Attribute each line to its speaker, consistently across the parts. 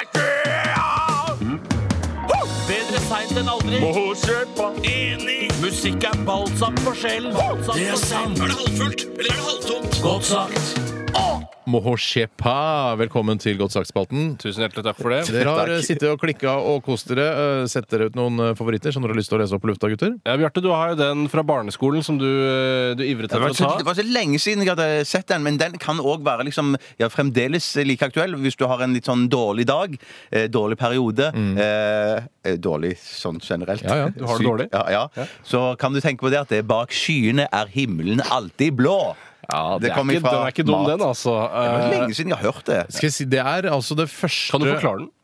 Speaker 1: Mosjebakke!
Speaker 2: Bedre seint enn aldri.
Speaker 1: Mosjebakke! Enig!
Speaker 2: Musikk er balsam for sjelen. Det er sant. Er det halvfullt, eller er det halvtomt? Godt sagt.
Speaker 3: Mohoshepa. Velkommen til Godt sagt-spalten.
Speaker 4: Tusen hjertelig takk for det.
Speaker 3: Dere har eh, sittet og klikka og kost dere. eh, Sett dere ut noen eh, favoritter som dere har lyst til å lese opp på lufta, gutter?
Speaker 4: Ja, Bjarte, du har jo den fra barneskolen som du, eh, du ivret
Speaker 1: Det
Speaker 4: etter
Speaker 1: var,
Speaker 4: å
Speaker 1: så,
Speaker 4: ta.
Speaker 1: det var så lenge siden jeg hadde sett den, men den kan òg være liksom, ja, fremdeles like aktuell hvis du har en litt sånn dårlig dag, eh, dårlig periode eh, eh, Dårlig sånn generelt.
Speaker 3: Ja, ja,
Speaker 4: du har det
Speaker 1: Syk-
Speaker 4: dårlig.
Speaker 1: Ja, ja. Så kan du tenke på det at det er bak skyene er himmelen alltid blå.
Speaker 4: Ja,
Speaker 1: Det kommer
Speaker 4: ikke,
Speaker 1: fra
Speaker 4: den er ikke dum,
Speaker 1: mat.
Speaker 4: den, altså.
Speaker 1: Det var
Speaker 4: Eh,
Speaker 1: lenge siden jeg har hørt det.
Speaker 3: Skal jeg si, Det er altså det første
Speaker 4: Kan du forklare den?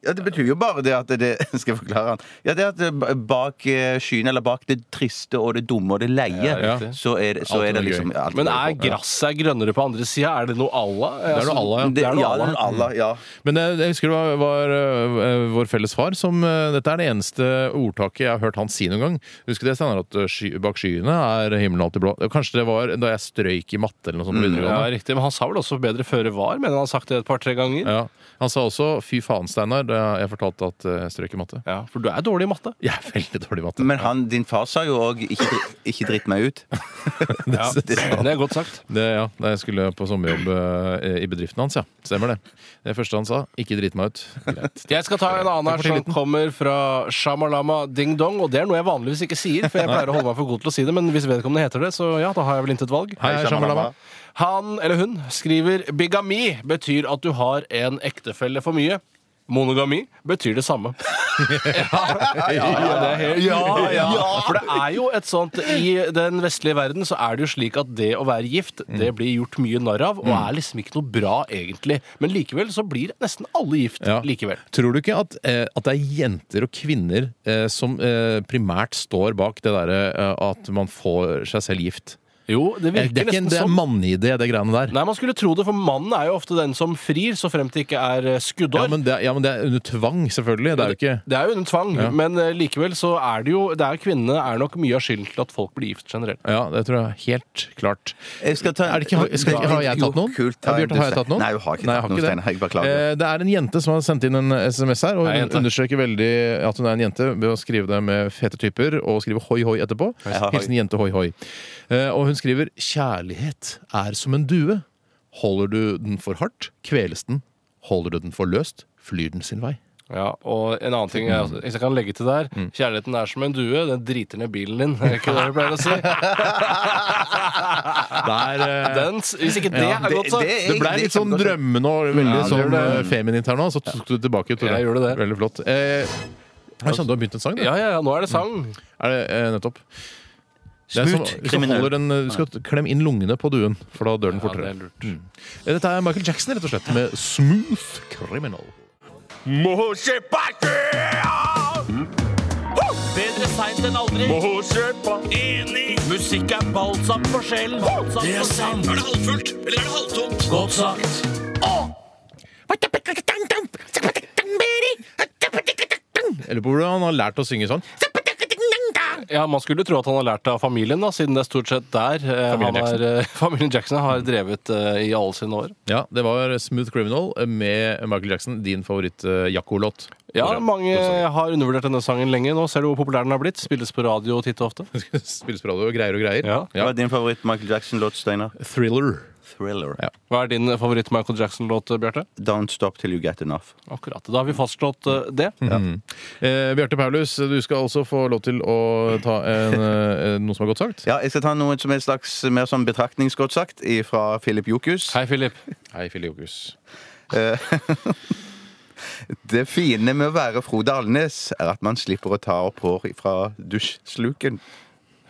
Speaker 1: Ja, Det betyr jo bare det at det Skal jeg forklare han? Ja, det at det b- bak eh, skyene, eller bak det triste og det dumme og det leie,
Speaker 3: Ja, ja.
Speaker 1: så er det, så
Speaker 3: Alt
Speaker 1: er det
Speaker 3: er
Speaker 1: liksom
Speaker 3: gøy.
Speaker 1: alt
Speaker 4: Men
Speaker 1: gøy.
Speaker 4: er gresset grønnere på andre sida? Er det noe Allah?
Speaker 3: Det er noe Allah, ja.
Speaker 1: det,
Speaker 4: det er noe
Speaker 1: ja,
Speaker 4: Allah.
Speaker 1: den Allah, ja.
Speaker 3: Men eh, jeg husker det var, var eh, vår felles far som eh, Dette er det eneste ordtaket jeg har hørt han si noen gang. Husker du det, Steinar, at eh, sky, bak skyene er himmelen alltid blå? Kanskje det var da jeg strøyk i matte eller noe sånt på
Speaker 4: Mm, Ja,
Speaker 3: videregående.
Speaker 4: riktig. Men han sa vel også bedre føre var, men han har sagt det et par-tre ganger. Ja.
Speaker 3: Ja. Han sa også 'fy faen, Steinar', da jeg fortalte at eh, jeg strøyk i matte.
Speaker 4: For du er dårlig i matte.
Speaker 3: Jeg er veldig dårlig i matte.
Speaker 1: Men han, din far sa jo òg 'ikke, dri- 'ikke dritt meg ut'.
Speaker 4: Ja.
Speaker 3: det sa han.
Speaker 4: Det er godt sagt.
Speaker 3: Det, ja, da jeg skulle på sommerjobb eh, i bedriften hans, ja. Stemmer det. Det første han sa. Ikke drit meg ut. Greit.
Speaker 4: Jeg skal ta en annen her som kommer fra Shamalama Ding Dong. Og det er noe jeg vanligvis ikke sier, for jeg pleier å holde meg for god til å si det. Men hvis vedkommende heter det, så ja, da har jeg vel intet valg.
Speaker 3: Hei, Shamalama.
Speaker 4: Han eller hun skriver bigami betyr at du har en ektefelle for mye. Monogami betyr det samme. ja, ja, ja, det er helt- ja, ja. For det er jo et sånt I den vestlige verden så er det jo slik at det å være gift,
Speaker 3: Mm.
Speaker 4: det blir gjort mye narr av, og er liksom ikke noe bra egentlig. Men likevel så blir nesten alle gift
Speaker 3: Ja.
Speaker 4: likevel.
Speaker 3: Tror du ikke at, eh, at det er jenter og kvinner eh, som eh, primært står bak det derre eh, at man får seg selv gift?
Speaker 4: Jo, det
Speaker 3: Eh,
Speaker 4: virker
Speaker 3: Det er ikke en,
Speaker 4: nesten
Speaker 3: det er
Speaker 4: sånn.
Speaker 3: mannidé, det greiene der.
Speaker 4: Nei, man skulle tro det, for mannen er jo ofte den som frir, så frem til ikke er eh, skuddår.
Speaker 3: Ja men, det, er- ja, men det er under tvang, selvfølgelig. Det er jo ikke
Speaker 4: Det er jo under tvang, men eh, likevel så er det jo det er Kvinnene er nok mye av skylden til at folk blir gift generelt.
Speaker 3: Ja, det tror jeg helt klart.
Speaker 1: Jeg skal ta-
Speaker 3: er det ikke, skal,
Speaker 1: Jo,
Speaker 3: har jeg tatt noen?
Speaker 1: kult,
Speaker 3: ja,
Speaker 1: ta en
Speaker 3: Bjørte, har jeg
Speaker 1: du,
Speaker 3: tatt noen?
Speaker 1: Nei, du har ikke tatt noen,
Speaker 3: det.
Speaker 1: Steinar. Jeg beklager.
Speaker 3: Eh, Det er en jente som har sendt inn en SMS her, og
Speaker 4: Hei,
Speaker 3: hun
Speaker 4: jente.
Speaker 3: understreker veldig at hun er en jente ved å skrive det med fete typer og skrive hoi hoi etterpå.
Speaker 1: hoi.
Speaker 3: Hilsen jente hoi hoi. Eh, Og hun skriver 'Kjærlighet er som en due'. Holder du den for hardt, kveles den. Holder du den for løst, flyr den sin vei.
Speaker 4: Ja, Og en annen ting
Speaker 3: Mm.
Speaker 4: jeg, også- hvis jeg kan legge til der Kjærligheten er som en due, den driter ned bilen din. Er det ikke det jeg pleier å si?
Speaker 3: Der, eh,
Speaker 4: Den, s- hvis ikke det
Speaker 3: Ja,
Speaker 4: er godt sagt.
Speaker 1: det-
Speaker 3: Det ble
Speaker 1: er
Speaker 3: litt sånn
Speaker 1: kjempegodt.
Speaker 3: drømmende og veldig
Speaker 4: det
Speaker 3: sånn
Speaker 4: gjorde
Speaker 3: eh, feminint her nå, så tok du det tilbake. Tore.
Speaker 4: Jeg gjorde det.
Speaker 3: Veldig flott. Eh, jeg kjenner du har begynt en sang, du.
Speaker 4: Ja, ja, ja, nå er det sang.
Speaker 3: Er det eh, nettopp? Det er som-
Speaker 1: Smooth
Speaker 3: hvis du
Speaker 1: kriminell.
Speaker 3: holder en, eh, Du skal klemme inn lungene på duen, for da dør den
Speaker 4: Ja, det er
Speaker 3: fortere.
Speaker 4: lurt.
Speaker 3: Eh, Dette er Michael Jackson, rett og slett, med 'Smooth Criminal'.
Speaker 1: Mosjebakke!
Speaker 2: Bedre seint enn aldri. Enig. Musikk er balsam for sjelen. Det er sant. Er det halvfullt, eller er det halvtomt? Godt sagt.
Speaker 3: Jeg lurer på hvordan han har lært å synge sånn.
Speaker 4: Ja, Man skulle tro at han har lært det av familien, da, siden det er stort sett der eh,
Speaker 3: Familien
Speaker 4: han er, eh, familien Jackson har drevet eh, i alle sine år.
Speaker 3: Ja, Det var 'Smooth Criminal' med Michael Jackson, din eh, favoritt-jakkolåt.
Speaker 4: Ja, Mange har undervurdert denne sangen lenge. Nå ser du hvor populær den har blitt. Spilles på radio titt og ofte.
Speaker 3: Spilles på radio og greier og greier.
Speaker 4: Ja.
Speaker 1: Hva er din favoritt Michael Jackson-låt, Steinar?
Speaker 3: Thriller.
Speaker 1: Thriller.
Speaker 3: Ja.
Speaker 4: Hva er din favoritt Michael Jackson-låt, Bjarte?
Speaker 1: Don't stop till you get enough.
Speaker 4: Akkurat. Da har vi fastslått eh, det.
Speaker 3: Eh, Bjarte Paulus, du skal også få lov til å ta en, eh, noe som er godt sagt.
Speaker 1: Ja, jeg skal ta noe som er et slags mer sånn betraktningsgodt sagt fra Philip Jokus.
Speaker 4: Hei, Philip.
Speaker 3: Hei, Fille Jokus.
Speaker 1: Det fine med å være Frode Alnes er at man slipper å ta opp hår fra dusjsluken.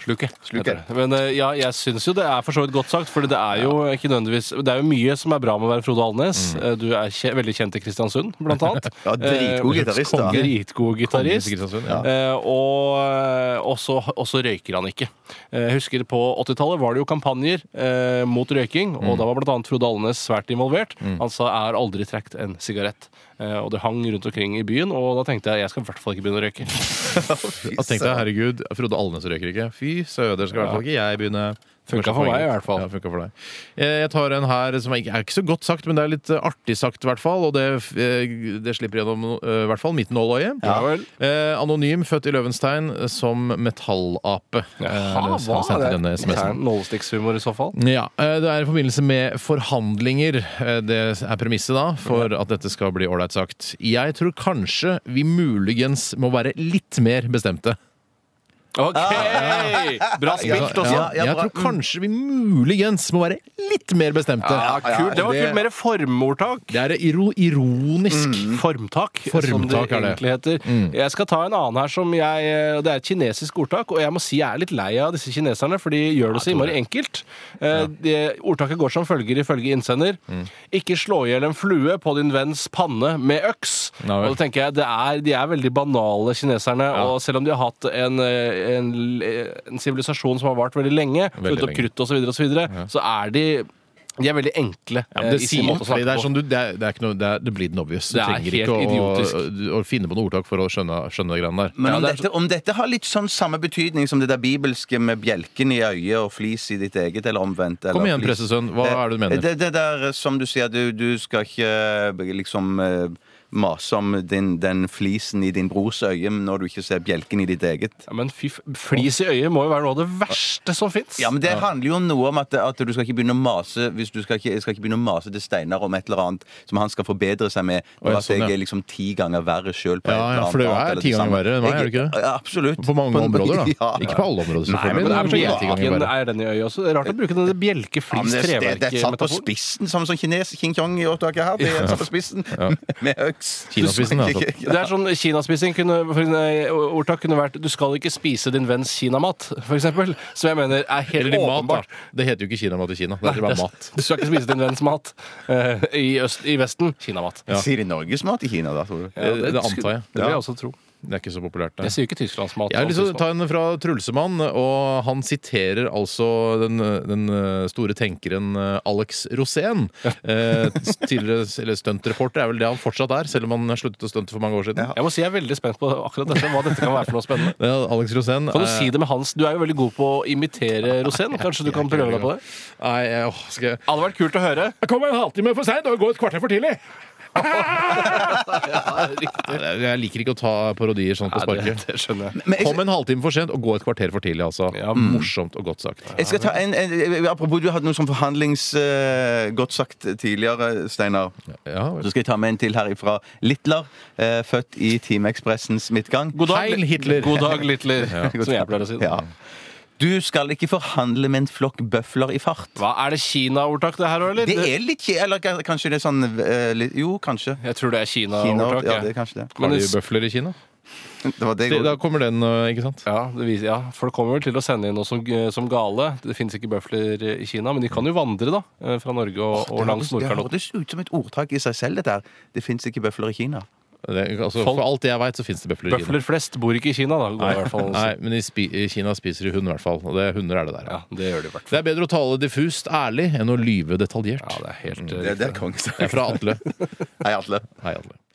Speaker 4: Sluket.
Speaker 1: Sluket.
Speaker 4: heter det. Men eh, ja, jeg syns jo det er for så vidt godt sagt, for det er jo ikke nødvendigvis Det er jo mye som er bra med å være Frode Alnes. Eh, Du er kje, veldig kjent i Kristiansund, blant annet.
Speaker 1: Mm. Ja, dritgod
Speaker 4: Eh,
Speaker 1: gitarist, da.
Speaker 4: Dritgod gitarist.
Speaker 3: Kristiansund, ja.
Speaker 4: Eh, og eh, også, også røyker han ikke. Eh, Jeg husker på 80-tallet var det jo kampanjer eh, mot røyking,
Speaker 1: Mm.
Speaker 4: og da var bl.a. Frode Alnes svært involvert. Han sa 'er aldri trukket en sigarett'. Eh, og det hang rundt omkring i byen, og da tenkte jeg jeg skal i hvert fall ikke begynne å røyke.
Speaker 3: Ja, tenk deg, herregud, Frode Alnes røyker ikke. Fy Fy søder, skal i hvert fall ikke jeg begynne.
Speaker 4: Funka for meg i hvert fall.
Speaker 3: Ja, funka for deg. Eh, Jeg tar en her som ikke- er ikke så godt sagt, men det er litt eh, artig sagt, i hvert fall. Og det, eh, det slipper gjennom eh, i hvert fall mitt nåløye.
Speaker 4: Ja vel.
Speaker 3: Eh, Anonym, født i Løvenstein, eh, som metallape.
Speaker 4: Jaha,
Speaker 3: Eh, han
Speaker 4: Ah,
Speaker 3: sendte denne SMS-en.
Speaker 4: Nålestikkshumor i så fall.
Speaker 3: Ja, eh, Det er i forbindelse med forhandlinger. eh, Det er premisset da, for at dette skal bli ålreit sagt. Jeg tror kanskje vi muligens må være litt mer bestemte.
Speaker 4: OK! Bra spilt også.
Speaker 1: Ja, ja,
Speaker 3: jeg
Speaker 1: bra.
Speaker 3: tror kanskje vi muligens må være litt mer bestemte.
Speaker 4: Ja, kult. Det var kult. Mer formordtak.
Speaker 3: Det er iro ironisk.
Speaker 4: Mm. Formtak, eh, som det
Speaker 3: Mm. Formtak er det. Mm.
Speaker 4: egentlig heter. Jeg skal ta en annen her som jeg og Det er et kinesisk ordtak, og jeg må si jeg er litt lei av disse kineserne, for de gjør det så innmari enkelt. Eh, det- Ordtaket går som følger ifølge innsender.
Speaker 3: Mm.
Speaker 4: Ikke slå i hjel en flue på din venns panne med øks.
Speaker 3: Ja vel.
Speaker 4: og da tenker jeg, det er, De er veldig banale, kineserne. Og selv om de har hatt en, eh, en, en sivilisasjon som har vart veldig lenge,
Speaker 3: Veldig
Speaker 4: funnet opp
Speaker 3: lenge.
Speaker 4: krutt osv., så, videre og så, videre, så er de de er veldig enkle.
Speaker 3: Ja,
Speaker 4: eh,
Speaker 3: men det,
Speaker 4: i sin
Speaker 3: sier,
Speaker 4: måte å
Speaker 3: fordi
Speaker 4: snakke
Speaker 3: det er
Speaker 4: på.
Speaker 3: sånn, du, det er, det er ikke noe, det er, det blir den obvious. Du
Speaker 4: Det er
Speaker 3: trenger
Speaker 4: helt
Speaker 3: ikke å, å,
Speaker 4: idiotisk.
Speaker 3: å finne på noe ordtak for å skjønne, skjønne det greiene der.
Speaker 1: Men
Speaker 4: Ja,
Speaker 1: om,
Speaker 4: det er
Speaker 1: dette, om dette har litt sånn samme betydning som det der bibelske med bjelken i øyet og flis i ditt eget, eller omvendt eller
Speaker 3: Kom igjen,
Speaker 1: flis-
Speaker 3: pressesønn. Hva er det du mener?
Speaker 1: Det, det der eh, som du sier, du, du skal ikke eh, liksom eh, mase om din, den flisen i din brors øye når du ikke ser bjelken i ditt eget.
Speaker 4: Ja, men fy, f- flis i øyet må jo være noe av det verste som fins.
Speaker 1: Ja, men Det handler jo om noe om at, at du skal ikke begynne å mase Hvis du skal ikke, skal ikke begynne å mase til Steinar om et eller annet som han skal forbedre seg med.
Speaker 3: Å,
Speaker 1: Og
Speaker 3: ja,
Speaker 1: at jeg
Speaker 3: sånn, ja.
Speaker 1: er liksom ti ganger verre sjøl på
Speaker 3: Ja,
Speaker 1: et
Speaker 3: ja,
Speaker 1: eller annet.
Speaker 3: for det er
Speaker 1: annet eller
Speaker 3: ti ganger
Speaker 1: samme.
Speaker 3: verre enn meg, er
Speaker 1: Jeg-
Speaker 3: det ikke det?
Speaker 1: Ja, absolutt.
Speaker 3: På mange områder, da.
Speaker 1: Ja.
Speaker 3: Ikke på alle områder,
Speaker 4: Nei,
Speaker 3: selvfølgelig.
Speaker 4: men det er
Speaker 3: kanskje ti ganger
Speaker 4: bjelken
Speaker 3: verre.
Speaker 4: er den i øyet også. Det er Rart å bruke denne bjelke
Speaker 1: Ja, men
Speaker 4: flis
Speaker 1: det, det, det er satt på
Speaker 4: treverk-metaforen.
Speaker 1: spissen, som sånn kines King Kong i ordtaket her. Det er satt på spissen med øks.
Speaker 3: Kinaspissen,
Speaker 1: Du-
Speaker 3: altså.
Speaker 4: Det er sånn Kinaspising kunne, for en- ordtak kunne vært 'du skal ikke spise din venns kinamat', f.eks. Som jeg mener er helt
Speaker 3: Eller din mat,
Speaker 4: åpenbart.
Speaker 3: da. Det heter jo ikke kinamat i Kina. Det er
Speaker 4: Det
Speaker 3: bare
Speaker 4: er-
Speaker 3: mat.
Speaker 4: Du skal ikke spise din venns mat eh, i, øst, i Vesten. Kinamat.
Speaker 3: Ja.
Speaker 1: Sier de norgesmat i Kina, da, tror du?
Speaker 4: Ja,
Speaker 3: det antar
Speaker 4: skulle-
Speaker 3: jeg.
Speaker 4: Det vil
Speaker 3: Ja.
Speaker 4: jeg også tro.
Speaker 3: Det er ikke så populært.
Speaker 4: Jeg
Speaker 3: Det.
Speaker 4: sier jo ikke tysklandsmat.
Speaker 3: Jeg har lyst til å
Speaker 4: og
Speaker 3: ta en fra Trulsemann, og han siterer altså den, den eh, store tenkeren eh, Alex Rosén. Eh, tidligere eller stuntreporter er vel det han fortsatt er, selv om han sluttet å stunte for mange år siden.
Speaker 4: tysklandsmat. Jeg må si jeg er veldig spent på akkurat dette, hva dette kan være for noe spennende.
Speaker 3: Det er Alex Rosén
Speaker 4: Kan du
Speaker 3: eh,
Speaker 4: si det med hans? Du er jo veldig god på å imitere Rosén. Kanskje du kan prøve deg på det?
Speaker 3: Nei, jeg- åh, skal jeg
Speaker 4: Hadde vært kult å høre.
Speaker 3: Jeg kom en halvtime for seint og går et kvarter for tidlig! Jeg liker ikke å ta parodier sånn på
Speaker 4: det,
Speaker 3: sparket.
Speaker 4: det skjønner jeg.
Speaker 1: Men jeg,
Speaker 3: Kom en halvtime for sent og gå et kvarter for tidlig, altså.
Speaker 4: Ja.
Speaker 3: Morsomt og godt sagt.
Speaker 1: jeg skal ta en, en Apropos, du hadde noe sånn forhandlings... eh, godt sagt tidligere, Steinar.
Speaker 3: Ja,
Speaker 1: Så skal jeg ta med en til her ifra Litler, eh, født i Timeekspressens midtgang.
Speaker 4: God dag,
Speaker 3: Heil Hitler.
Speaker 4: God dag, Littler, som jeg pleier å si.
Speaker 1: Ja. Du skal ikke forhandle med en flokk bøfler i fart.
Speaker 4: Hva Er det Kina-ordtak, det her òg, eller?
Speaker 1: Det er litt kje- Eller k- kanskje det er sånn eh, litt- Jo, kanskje.
Speaker 4: Jeg tror det er
Speaker 1: Kina,
Speaker 4: Kina-ordtak.
Speaker 1: ja, det er
Speaker 4: jeg.
Speaker 1: kanskje det.
Speaker 3: Har
Speaker 4: Men
Speaker 3: de
Speaker 4: det-
Speaker 3: bøfler i Kina?
Speaker 1: Det var det jeg
Speaker 3: Det, da kommer den, øh, ikke sant?
Speaker 4: ja, det viser, ja, Folk kommer vel til å sende inn noe som, eh, som gale. Det finnes ikke bøfler i Kina, men de kan jo vandre da, eh, fra Norge og, og langs
Speaker 1: Det
Speaker 4: Nordkalotten.
Speaker 1: hørtes ut som et ordtak i seg selv, dette her. Det fins ikke bøfler i Kina.
Speaker 3: Det, altså,
Speaker 4: Folk-
Speaker 3: for alt jeg veit, så fins det bøfler i Kina.
Speaker 4: Bøfler flest bor ikke i Kina, da. Går det i hvert fall, å si.
Speaker 3: Nei, men i, spi i Kina spiser de hund, i hvert fall. Og det, hunder er det der.
Speaker 4: Ja,
Speaker 3: Ja.
Speaker 4: det gjør de i hvert fall.
Speaker 3: Det er bedre å tale diffust ærlig enn å lyve detaljert.
Speaker 4: Ja, det er helt eh,
Speaker 1: Det, det er kongesagt.
Speaker 3: Det er fra Atle.
Speaker 1: Hei, Atle.
Speaker 3: Hei, Atle.